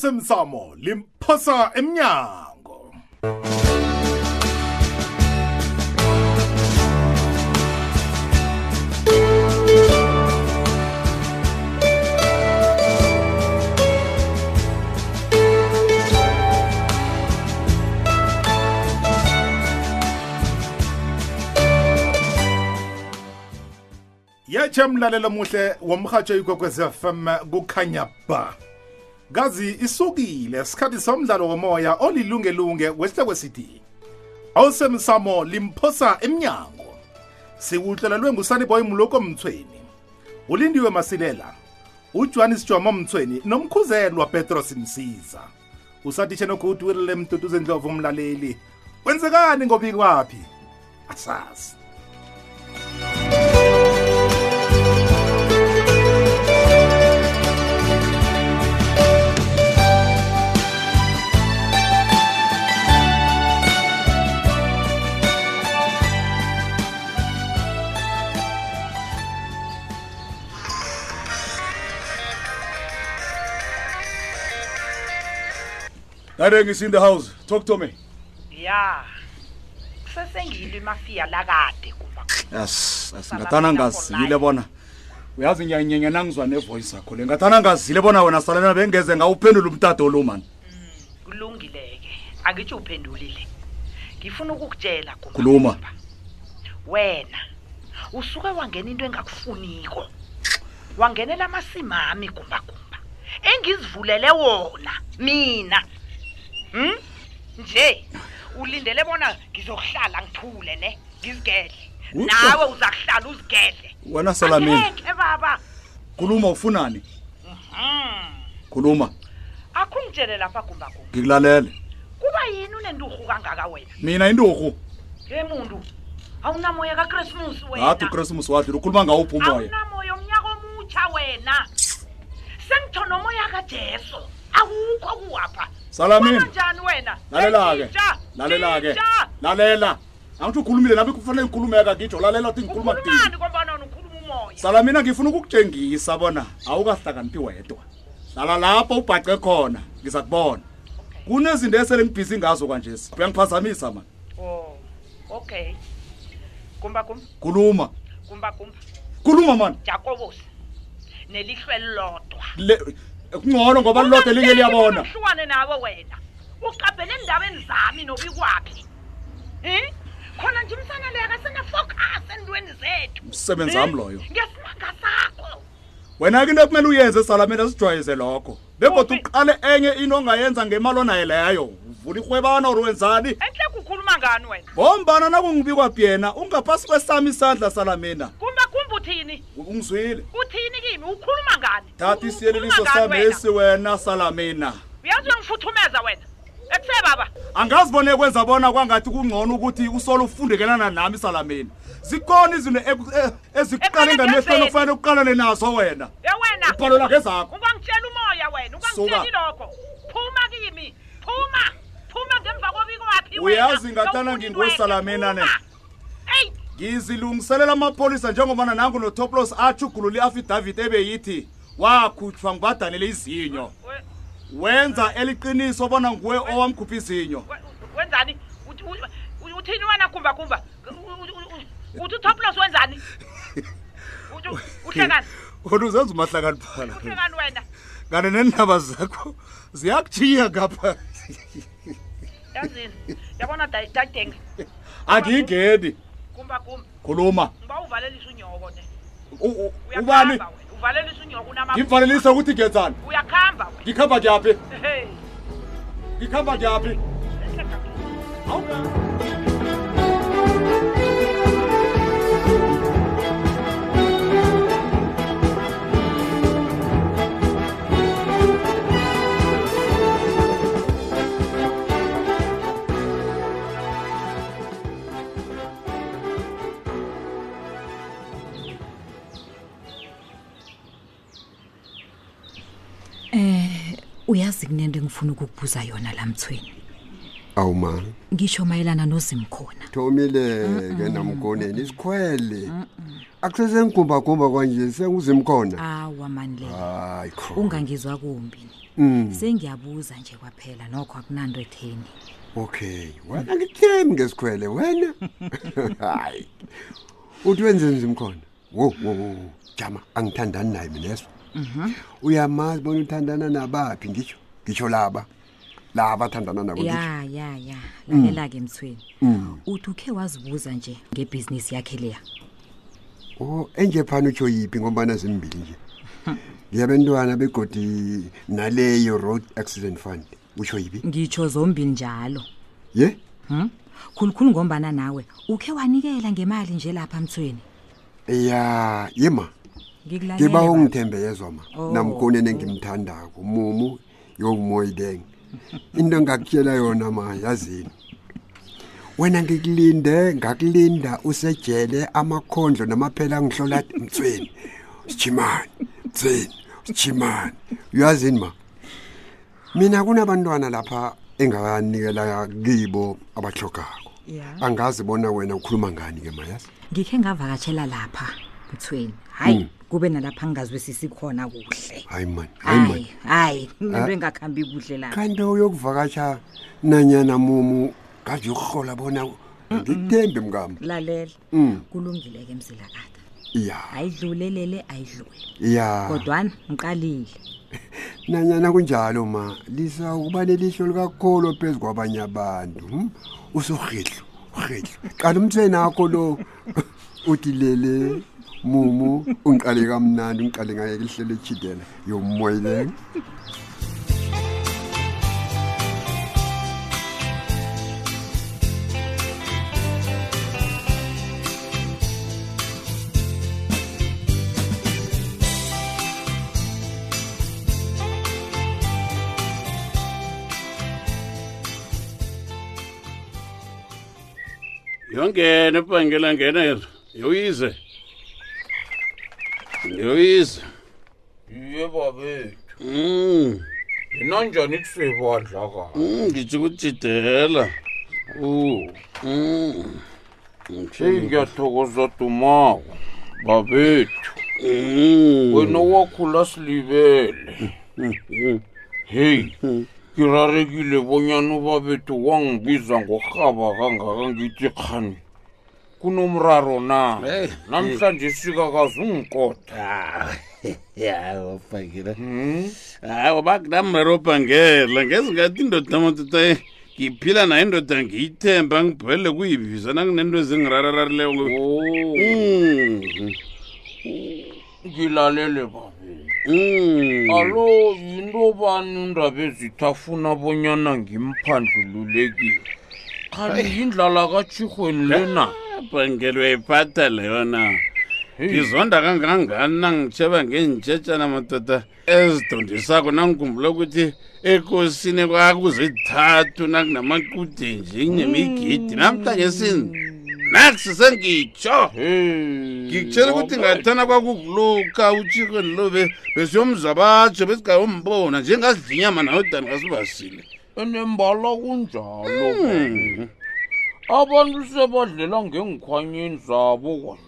awusemsamo limphosa emnyango yetshe mlalelo muhle womhatsho ikwekwez fm kukhanya ba kazi isukile sikhathi somdlalo womoya olilungelunge wesihloko sithi awusemsamo limphosa emnyango sikuhlelelwe ngusaniboy mloko mthweni ulindiwe masilela ujohanis joma mthweni nomkhuzelwa petros msiza usathishenogudu wirile mduduzendlovu umlaleli kwenzekani ngobiki kwaphi asazi Dadeng is in the house. Talk to me. ya sesengiyilwa imafiya lakade kumba Yes, yes. ngathana ngazile bona uyazi ngiyanyenyana ngizwa nevoice yakho le ngathana ngazile bona wena salena bengeze ngawuphendula umtato lo man kulungileke angitsho uphendulile ngifuna ukukutshela Gumba Khuluma. Gumba. wena usuke wangena into engakufuniko wangenela amasimami gumbagumba engizivulele wona mina hm nje ulindele bona ngizokuhlala ngithule ne ngizigedle Utsho. nawe uza kuhlala uzigedle wena salamini Angekhe, baba Hmm. khuluma ufunani khuluma akhungitshele lapha gumbagumba ngikulalele kuba yini unenturhu kangaka wena mina inturhu ye muntu awunamoya kakrismus ngathi uchristmas wathi ukhuluma ngawuphi umoya awunamoya omnyaka omutsha wena sengitho nomoya kajesu awukho kuwapha salamini njani wena lalela-ke Ngitsha, lalela-ke ngitsha. lalela angithi ukhulumile nabe kufanele ngikhulumeka ngitsho lalela uthi ngikhuluma kudini ukhulumani kombanona ukhuluma umoya salamina ngifuna ukukutshengisa bona awukahlakaniphi wedwa lala lapho ubhace khona ngiza kubona kunezinto esele ngibhizi ngazo kwanje uyangiphazamisa mani oh okay kumba kumba khuluma kumba kumba khuluma mani jakobosi nelihlo elilodwa Le- kungcono ngoba lilode linye liyabona hlukane nawe wena uqabhele endabeni zami nobikwaphi um khona nje umsana leyo akasenefocus entweni zethu Umsebenzi wami loyo. ngesimanga sakho wena ke into ekumele uyenze salamina sijwayeze lokho begodwa Kuphi? uqale enye into ongayenza ngemali onaye leyo uvula irhwebana or wenzani enhle kukhuluma ngani wena ngombana nakungibikwa byena ungaphasi kwesami isandla salamina kumba kumba uthini ungizwile uthini kimi ukhuluma ngani thatha isiyeleliso sami esi wena salamina uyazi uyangifuthumeza wena ekuse baba angazibone kwenza bona kwangathi kungcono ukuthi usolo ufundekelana nami salamina zikhona izinto eku- eh, ezikuqale ngamehlweni Ekuqalekezeni. okufanele ukuqalane nazo wena ye wena ibhalola ngezakho ungangitshela umoya wena Suka. ungangitsheli lokho phuma kimi phuma phuma ngemva kobiko waphi Uyazi ngathana ngingosalamena ne. eyi ngizilungiselela amapholisa njengobana nangu notoplos achugulula i-afidavit ebeyithi wakhutshwa ngibadanele izinyo we- wenza eliqiniso bona nguwe owamkhupha izinyo we- wenzani Uthi- u- u- uthini wena kumba kumba U- u- u- u- uthi utoplos wenzani Uthi- uhlekani wona uzenza umahlakaniphana uhlekani wena kanti neendaba zakho ziyakujiya ngapha yazini yabona dadenga angiyingeni kumba kumba khuluma ngiba uvalelisa unyoko ne U- u- ubani uyakuhamba wena uvalelisa unyoko unama ngimvalelise ukuthi ngenzani uyakuhamba wena ngikhamba kyaphi Hey. ngikhamba kyaphi uyazi kunento engifuna ukukubuza yona la mthweni awu mani ngisho mayelana nozimkhona thomile-ke namkoneni isikhwele Ah. akusesengigumbagumba kwanje senguzimkhona Ah. awa mani le hayi kho ungangizwa kumbi sengiyabuza nje kwaphela nokho akunanto etheni okay wena ngithembi ngesikhwele wena hayi uthi wenzeni zimkhona wo wo wo jama angithandani naye mineso uyamazi bona uthandana nabaphi ngisho ngisho laba laba athandana nabo ngisho ya ya ya lalela-ke mthweni uthi ukhe wazibuza nje ngebhizinisi yakhe leya o enje phana utsho yiphi ngombana zimbili nje ngiyabentwana begodi naleyo road accident fund utsho yiphi ngitsho zombili njalo ye khulukhulu ngombana nawe ukhe wanikela ngemali nje lapha mthweni ya yema ngikulalela ngiba baba. ungithembe yezwa ma Oh. namkhoneni engimthandako mumu yomoyileng into engakutshela yona ma yazini wena ngikulinde ngakulinda usejele amakhondlo namaphela angihlola mtsweni sijimani mtsweni sijimani uyazini ma mina kunabantwana lapha enganikela kibo abahlogako Ya. angazi bona wena ukhuluma ngani ke ma yazi ngikhe ngavakatshela lapha mthweni hayi kube nalapha ngingazwisisi khona kuhle hayi mani hayi hayi mani hayi into engakhambi kuhle lapha kanti uyokuvakatsha nanyana mumu kazi yokuhlola bona ngikuthembi mngam lalela kulungile-ke mzilakada ya ayidlulelele ayidlule ya kodwana ngiqalile nanyana kunjalo ma lisa ukuba nelihlo likakholo phezu kwabanye abantu hm? usurhidlo urhidlo qala umthweni akho lo uthi lele mumu ungiqale kamnandi ungiqale ngayekelihle lejidela yomoyileko yongena ebhangela ngena yezo yoyize yoyize iye babethu Mm, inanjani ikusebo adlakala mm, ngithi ukujidela u mm, eyi ngiyathokoza dumako babethu mm. Hmm. wena wakhula silibele Hmm. heyi ngirarekile bonyana ubabethu wangibiza ngorhaba kangaka ngithi khani kunomraro na Hey. namhlanje sikakazi ungikoda hayi bhangela Hmm? hayi bakunamraro bhangela ngezingathi indoda amadoda ngiphila nayo indoda ngiyithemba ngibhelele kuyivisa nakunento ezingirarararileyo ngo- Hmm. Mm, ngilalele babethu mm. alo yinto bani indaba ezithafuna bonyana ngimphandlululekile khani yindlala katshirhweni lena bhangelwe iphatha leyo na ngizonda kangangani nangitsheba ngentshetshana madoda ezidondisako nangikhumbula ukuthi ekosini kwakuzithathu nakunamakude nje kunemigidi namhlanje sini nakusi sengitsho ngikutshela ukuthi ngathana kwakukuluka utshikweni lo be- besiyomza batsho besingayombona njengazidlinyama nayodani kasibasile enembala kunjalo babe. abantu sebadlela ngengikhwanyeni zabo kwanje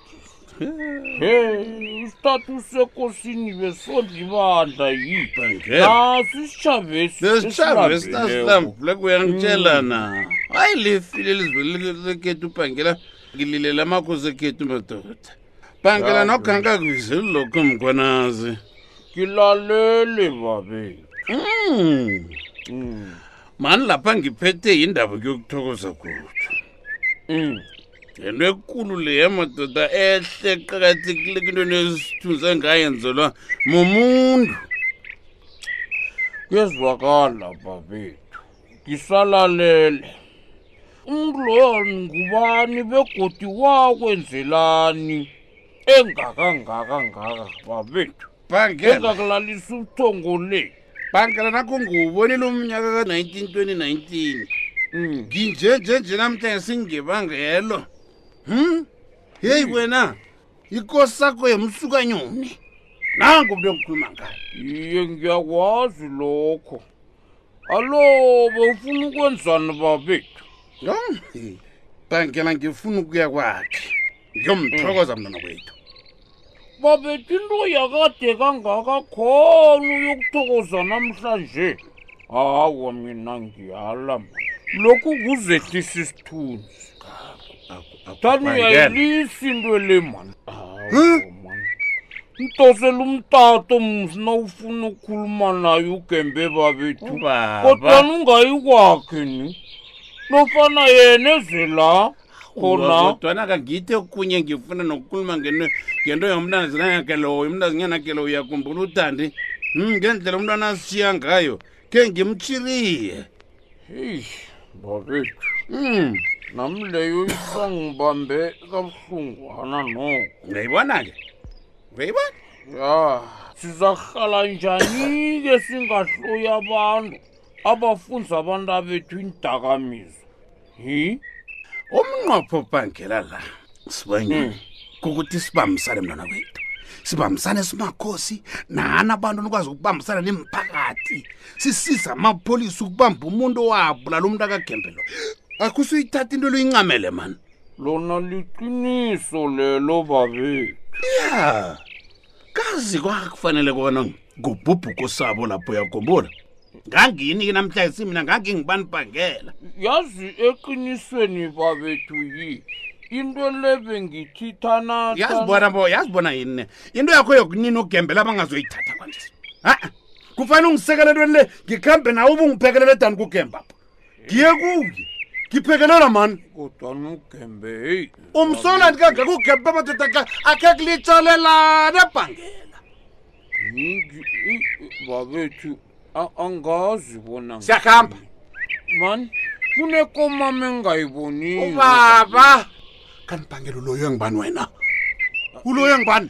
he isitatu sekosini besodla ibandla yipa bhangela naso isitshavesi lesitshava esilabileko. esinasilambule kuyangitshela na hayi lifile elizwe lekhethu ubhangela ngililela amakhosi ekhethu madoda bhangela nokhankakubizeli lokho mkhwanazi ngilalele babethu Mm. mani lapha ngiphethe yindaba kuyokuthokoza kuthi Mm. yento ekulu leya madoda ehle eqakathekile kwinto nesithunzi engayenzelwa mumuntu kuyezwakala babethu ngisalalele umntu loyo ngubani begodi wakwenzelani engakangakangaka babethu bhangela engakulalisa ubuthongo le bhangela nakho ngiwubonile umnyaka ka-19 2019 Mm. nginjenjenje namhlanje singebangelo hm heyi wena ikosi yakho yemsukanyoni nango mntu engikhuluma ngayo iye ngiyakwazi lokho alo bawufuna ukwenzani babethu Yho, he. bhangela ngifuna ukuya kwakhe ngiyomthokoza mntwana kwethu babethu into yakade kangaka khona uyokuthokoza namhlanje hawa mina ngiyala man. lokhu kuzehlisa isithunzi tani uyayilisa into le mani mtosela umtato msina ufuna ukukhuluma naye ugembe babethu kodwani ungayi kwakhe ni nofana yena eze la khona kodwana kangithe kunye ngifuna nokukhuluma ngento ngento yomntana zinanyakeloyo umntana zinyanakelo uyakhumbula utandi Hmm, ngendlela umntwana asishiya ngayo khe ngimtshiriye eyi babethu Hmm, nami leyo isangibambe kabuhlungwana noko uyayibona-ke uyayibona ya sizakuhlala njani-ke singahloyi abantu abafunza abantu abethu indakamizwa hi umnqopho bhangela la sibanyeni kukuthi sibambisane mntwana wethu sibambisane simakhosi nani abantu nikwazi ukubambisana nemiphakathi sisiza amapholisa ukubamba umuntu owabulala umntu akagembelo akho usuyithatha into loyincamele mani lona liqiniso lelo babethu ya Ah. kazi kwakufanele kona ngubhubhuko sabo lapho uyagombula ngangini ke namhla isimina ngangingibanibhangela yazi eqinisweni babethu yi into lebengithithana yazibona bo yazibona yini ne into yakho yokunini ugembela abangazoyithatha kwanje ha-a kufanele ungisekele entweni le ngikhambe nawe ube ungiphekelele edani kugemba apha ngiye kuye ngiphekelela mani kodwana ugembe heyi umsola ndikangeka ugemba amadodaka akhe kulitshalelana ebhangela yingi eyi, babethu a- angazi bona siyakuhamba mani kunekomama Oh, Oh, engayiboniyo ubaba kanibhangela uloyo engibani wena uloyo engibani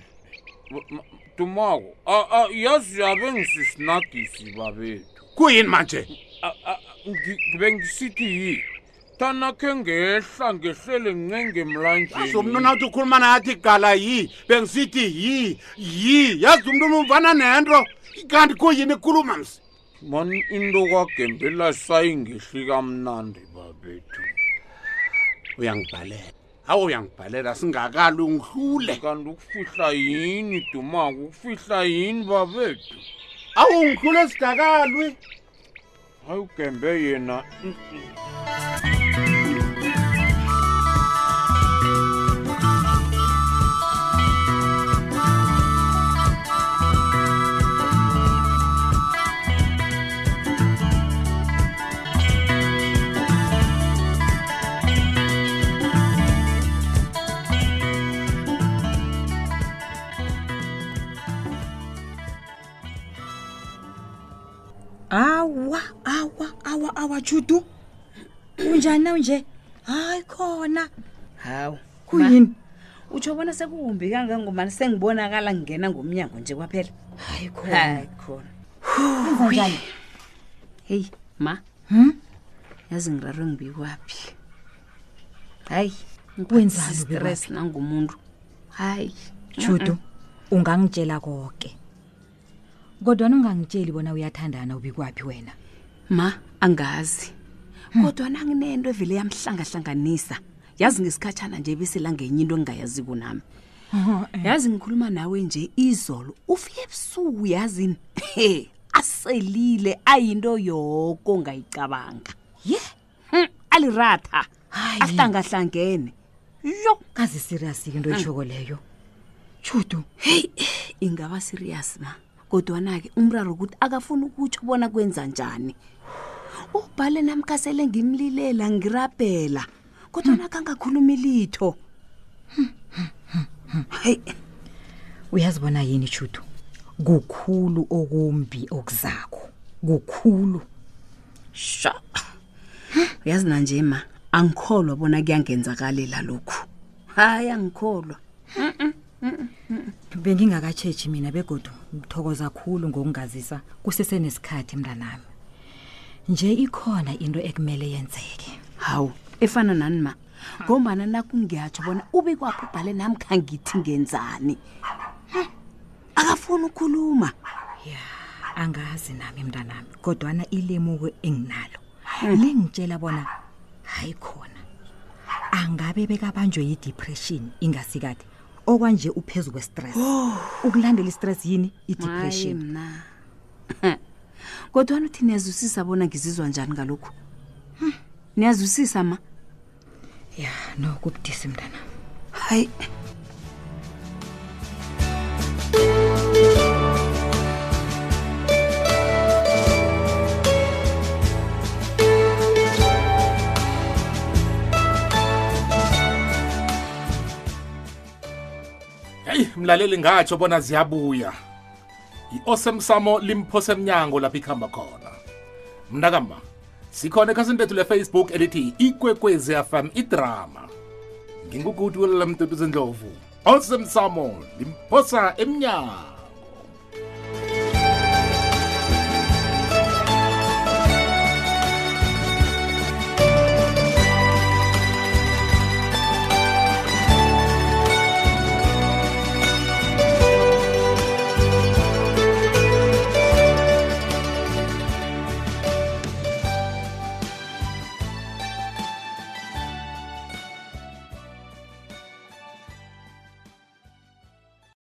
tumako a- a- yazi yabe ngisisinagisi babethu kuyini manje A- a- ngi- bengisithi yi tanakhe ngehla ngehlele ncengemlanjeni azomntu nawuthi ukhuluma nathi gala yi bengisithi yi yi yazi umntu numvana nento kanti kuyini ikhuluma msi mani into kwagembela sayingehli kamnandi babethu uyangibhalela hawu uyangibhalela singakali ungihlule kanti ukufihla yini dumako ukufihla yini babethu hawu ungihlule sidakalwe hayi ugembe yena mm, awa awa awa awa judu unjani nawe nje hayi khona hawu kuyini utsho bona sekukumbi kangangomani sengibonakala ngingena ngomnyango nje kwaphela hayi hayi khona khona njani heyi ma hmm? yazi ngirarwe ngibikwaphi hayi Wenzani stress nangumuntu hayi judu ungangitshela konke kodwana ungangitsheli bona uyathandana ubikwaphi wena ma angazi kodwa nanginento evele yamhlangahlanganisa yazi ngesikhatshana nje ebiselangenye into engingayaziko nami Oh, eh. yazi ngikhuluma nawe nje izolo ufike ebusuku yazini he aselile ayinto yoko ngayicabanga ye Hmm, aliratha Hayi. ahlangahlangene yo kazi siriyasi-ke into etshoko leyo judu heyi ingaba siriyasi ma kodwana-ke umraro ukuthi akafuni ukutsho bona kwenza njani ubhale namkasele ngimlilela ngirabhela kodwana kangakhulumi litho heyi uyazibona yini judu kukhulu okumbi okuzakho kukhulu sha uyazi nanje ma angikholwa bona kuyangenzakalela lokhu hayi angikholwa bengingakatshetshi mina begodu ngithokoza khulu ngokungazisa kusesenesikhathi mntanami nje ikhona into ekumele yenzeke hawu efana nani ma ngombana nakungiyatsho bona ube kwapho ubhale nami khangithi ngenzani Hmm, akafuni ukukhuluma ya angazi nami mntanami kodwana ilemuko enginalo lingitshela bona hayi khona angabe bekabanjwe yidepression ingasikade okwanje uphezu kwestress ukulandela istress yini hayi i-depression mna kodwa uthi niyazwisisa bona ngizizwa njani ngalokhu Hmm, niyazwisisa ma ya no kubudisi mntana hayi heyi mlaleli ngatsho bona ziyabuya i-osemsamo limphose emnyango lapho ikuhamba khona mnakama sikhona ekhasini lethu lefacebook elithi ikwekwezi fm idrama nginguguti welela mtutu zendlovu osemsamo limphosa emnyango